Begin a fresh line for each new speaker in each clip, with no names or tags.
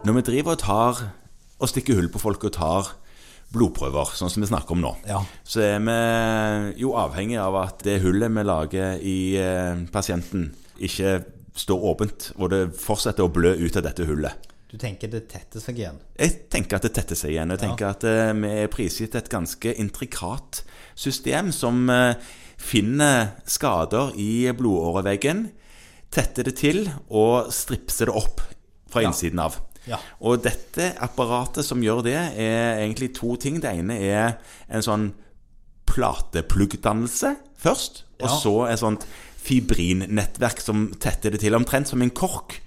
Når vi driver og tar og stikker hull på folk og tar blodprøver, sånn som vi snakker om nå,
Ja.
så er vi jo avhengig av at det hullet vi lager i eh, pasienten, ikke står åpent, og det fortsetter å blø ut av dette hullet.
Du tenker det tetter seg igjen.
Jeg tenker at det tetter seg igjen. og Jeg tenker at eh, vi er prisgitt et ganske intrikat system som eh, finner skader i blodåreveggen, tetter det til og stripser det opp fra innsiden av.
Ja.
Og dette apparatet som gjør det, er egentlig to ting. Det ene er en sånn platepluggdannelse først, og
Ja.
så et sånt fibrinnettverk som tetter det til omtrent som en kork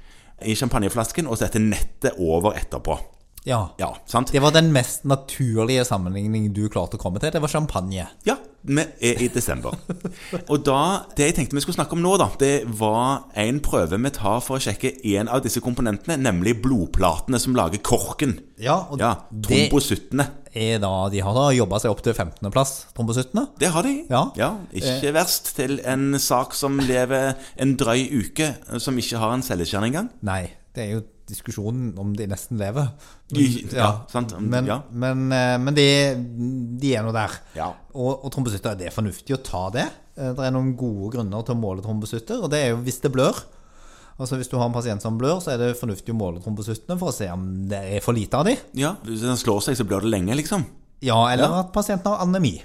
i champagneflasken, og setter nettet over etterpå.
Ja.
Ja, sant?
Det var den mest naturlige sammenligningen du klarte å komme til. Det var champagne.
Ja, vi er i desember. Og da, det jeg tenkte vi skulle snakke om nå, da, det var en prøve vi tar for å sjekke en av disse komponentene, nemlig blodplatene som lager korken.
Ja, og
Ja,
det
trombosuttene.
er da De har da jobba seg opp til 15.-plass, trombosuttene.
Det har de.
Ja. Eh.
Ikke verst til en sak som lever en drøy uke, som ikke har en cellekjerne engang.
Nei, det er jo diskusjonen om de nesten lever.
I- ja, sant, om-
Men,
ja.
men, eh, men de, de er nå der.
Ja.
Og, og trombosutter, det er fornuftig å ta det. Eh, Det er noen gode grunner til å måle trombosutter, og det er jo hvis det blør. Altså Hvis du har en pasient som blør, så er det fornuftig å måle trombosuttene for å se om det er for lite av de.
Ja, Hvis den slår seg, så blir det lenge, liksom.
Ja, eller
Ja.
at pasienten har anemi.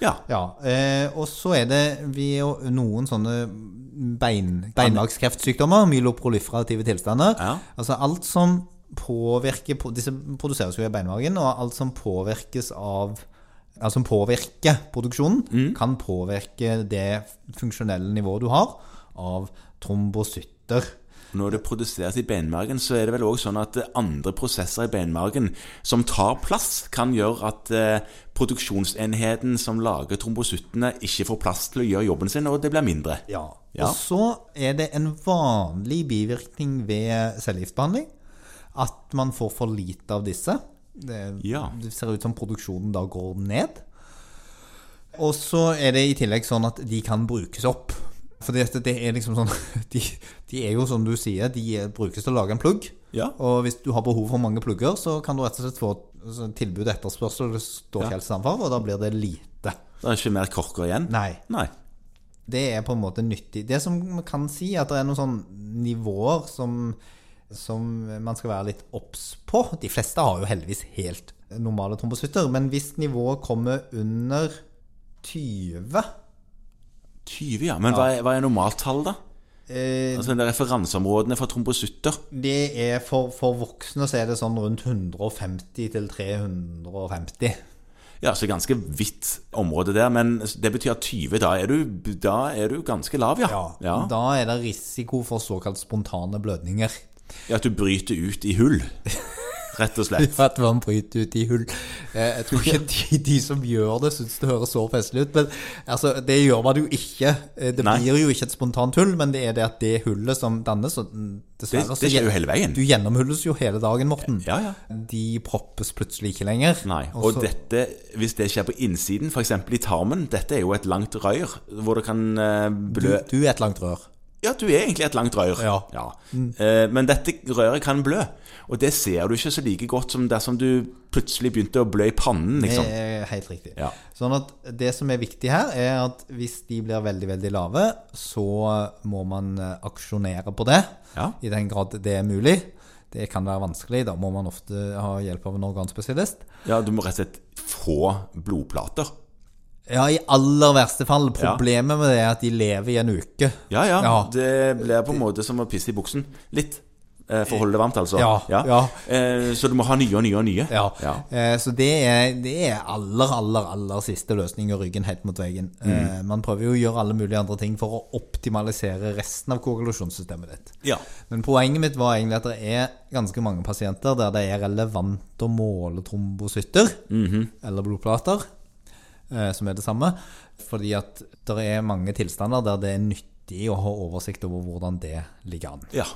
Ja.
Ja, eh, og så er det vi, noen sånne bein, beinlagskreftsykdommer, myeloproliferative tilstander.
Ja.
Altså alt som påvirker på- Disse produseres jo i beinmargen, og alt som påvirkes av Altså som påvirker produksjonen, kan påvirke det funksjonelle nivået du har av trombosytter.
Når det produseres i benmargen, så er det vel òg sånn at eh, andre prosesser i benmargen som tar plass, kan gjøre at eh, produksjonsenheten som lager trombosuttene, ikke får plass til å gjøre jobben sin, og det blir mindre.
Ja.
Ja.
Og så er det en vanlig bivirkning ved cellegiftbehandling at man får for lite av disse. Det,
Ja.
det ser ut som produksjonen da går ned. Og så er det i tillegg sånn at de kan brukes opp. For det, det er liksom sånn de, de er jo som du sier, de er- brukes til å lage en plugg.
Ja.
Og hvis du har behov for mange plugger, så kan du rett og slett få altså, tilbud og etterspørsel, det står
Ja.
ikke helt sammenfall, og da blir det lite.
Det er ikke mer korker igjen.
Nei.
Nei.
det er på en måte nyttig. Det som man kan si, at det er noen sånne nivåer som, som man skal være litt obs på. De fleste har jo heldigvis helt normale trombosytter, men hvis nivået kommer under 20
20, ja. Men hva er, hva er normaltall, da?
eh,
Altså de referanseområdene for trombosutter?
Det er for, for voksne så er det sånn rundt 150 til 350.
Ja, så ganske vidt område der, men det betyr at 20, da er du, da er du ganske lav, ja. ja.
Da er det risiko for såkalt spontane blødninger.
Ja, At du bryter ut i hull, rett og slett.
For at man bryter ut i hull. Eh, Jeg tror ikke de, de som gjør det, syns det høres så festlig ut. Men altså, det gjør man jo ikke. Eh, Det
Nei.
blir jo ikke et spontant hull, men det er det at det hullet som dannes og mm,
Det,
Dessverre
det skjer jo hele veien.
Du gjennomhulles jo hele dagen, Morten.
Ja, ja.
De proppes plutselig ikke lenger.
Nei,
Og
og
så-
dette, hvis det skjer på innsiden, f.eks. i tarmen Dette er jo et langt røyr hvor det kan eh,
du,
blø
du er et langt rør.
Ja, du er egentlig et langt røyr.
Ja. Mm.
Eh, men dette røret kan blø, og det ser du ikke så like godt som dersom du plutselig begynte å blø i pannen, liksom.
Det er Eh, helt riktig.
Ja.
Sånn at det som er viktig her, er at hvis de blir veldig, veldig lave, så må man eh, aksjonere på det.
Ja.
I den grad det er mulig. Det kan være vanskelig, da må man ofte ha hjelp av en organspesialist.
Ja, du må rett og slett få blodplater.
Ja, i aller verste fall. Problemet med det er at de lever i en uke.
Ja, ja.
Ja.
Det blir på en måte som å pisse i buksen. Litt. eh, For å holde det varmt, altså.
Ja, ja.
Eh, Så du må ha nye og nye og nye.
Ja. Eh, Så det er, det er aller, aller, aller siste løsning å ryggen helt mot veggen. Eh, Man prøver jo å gjøre alle mulige andre ting for å optimalisere resten av koagulasjonssystemet ditt.
Ja.
Men poenget mitt var egentlig at det er ganske mange pasienter der det er relevant å måle trombosytter, eller blodplater, eh, som er det samme, fordi at det er mange tilstander der det er nyttig å ha oversikt over hvordan det ligger an.
ja.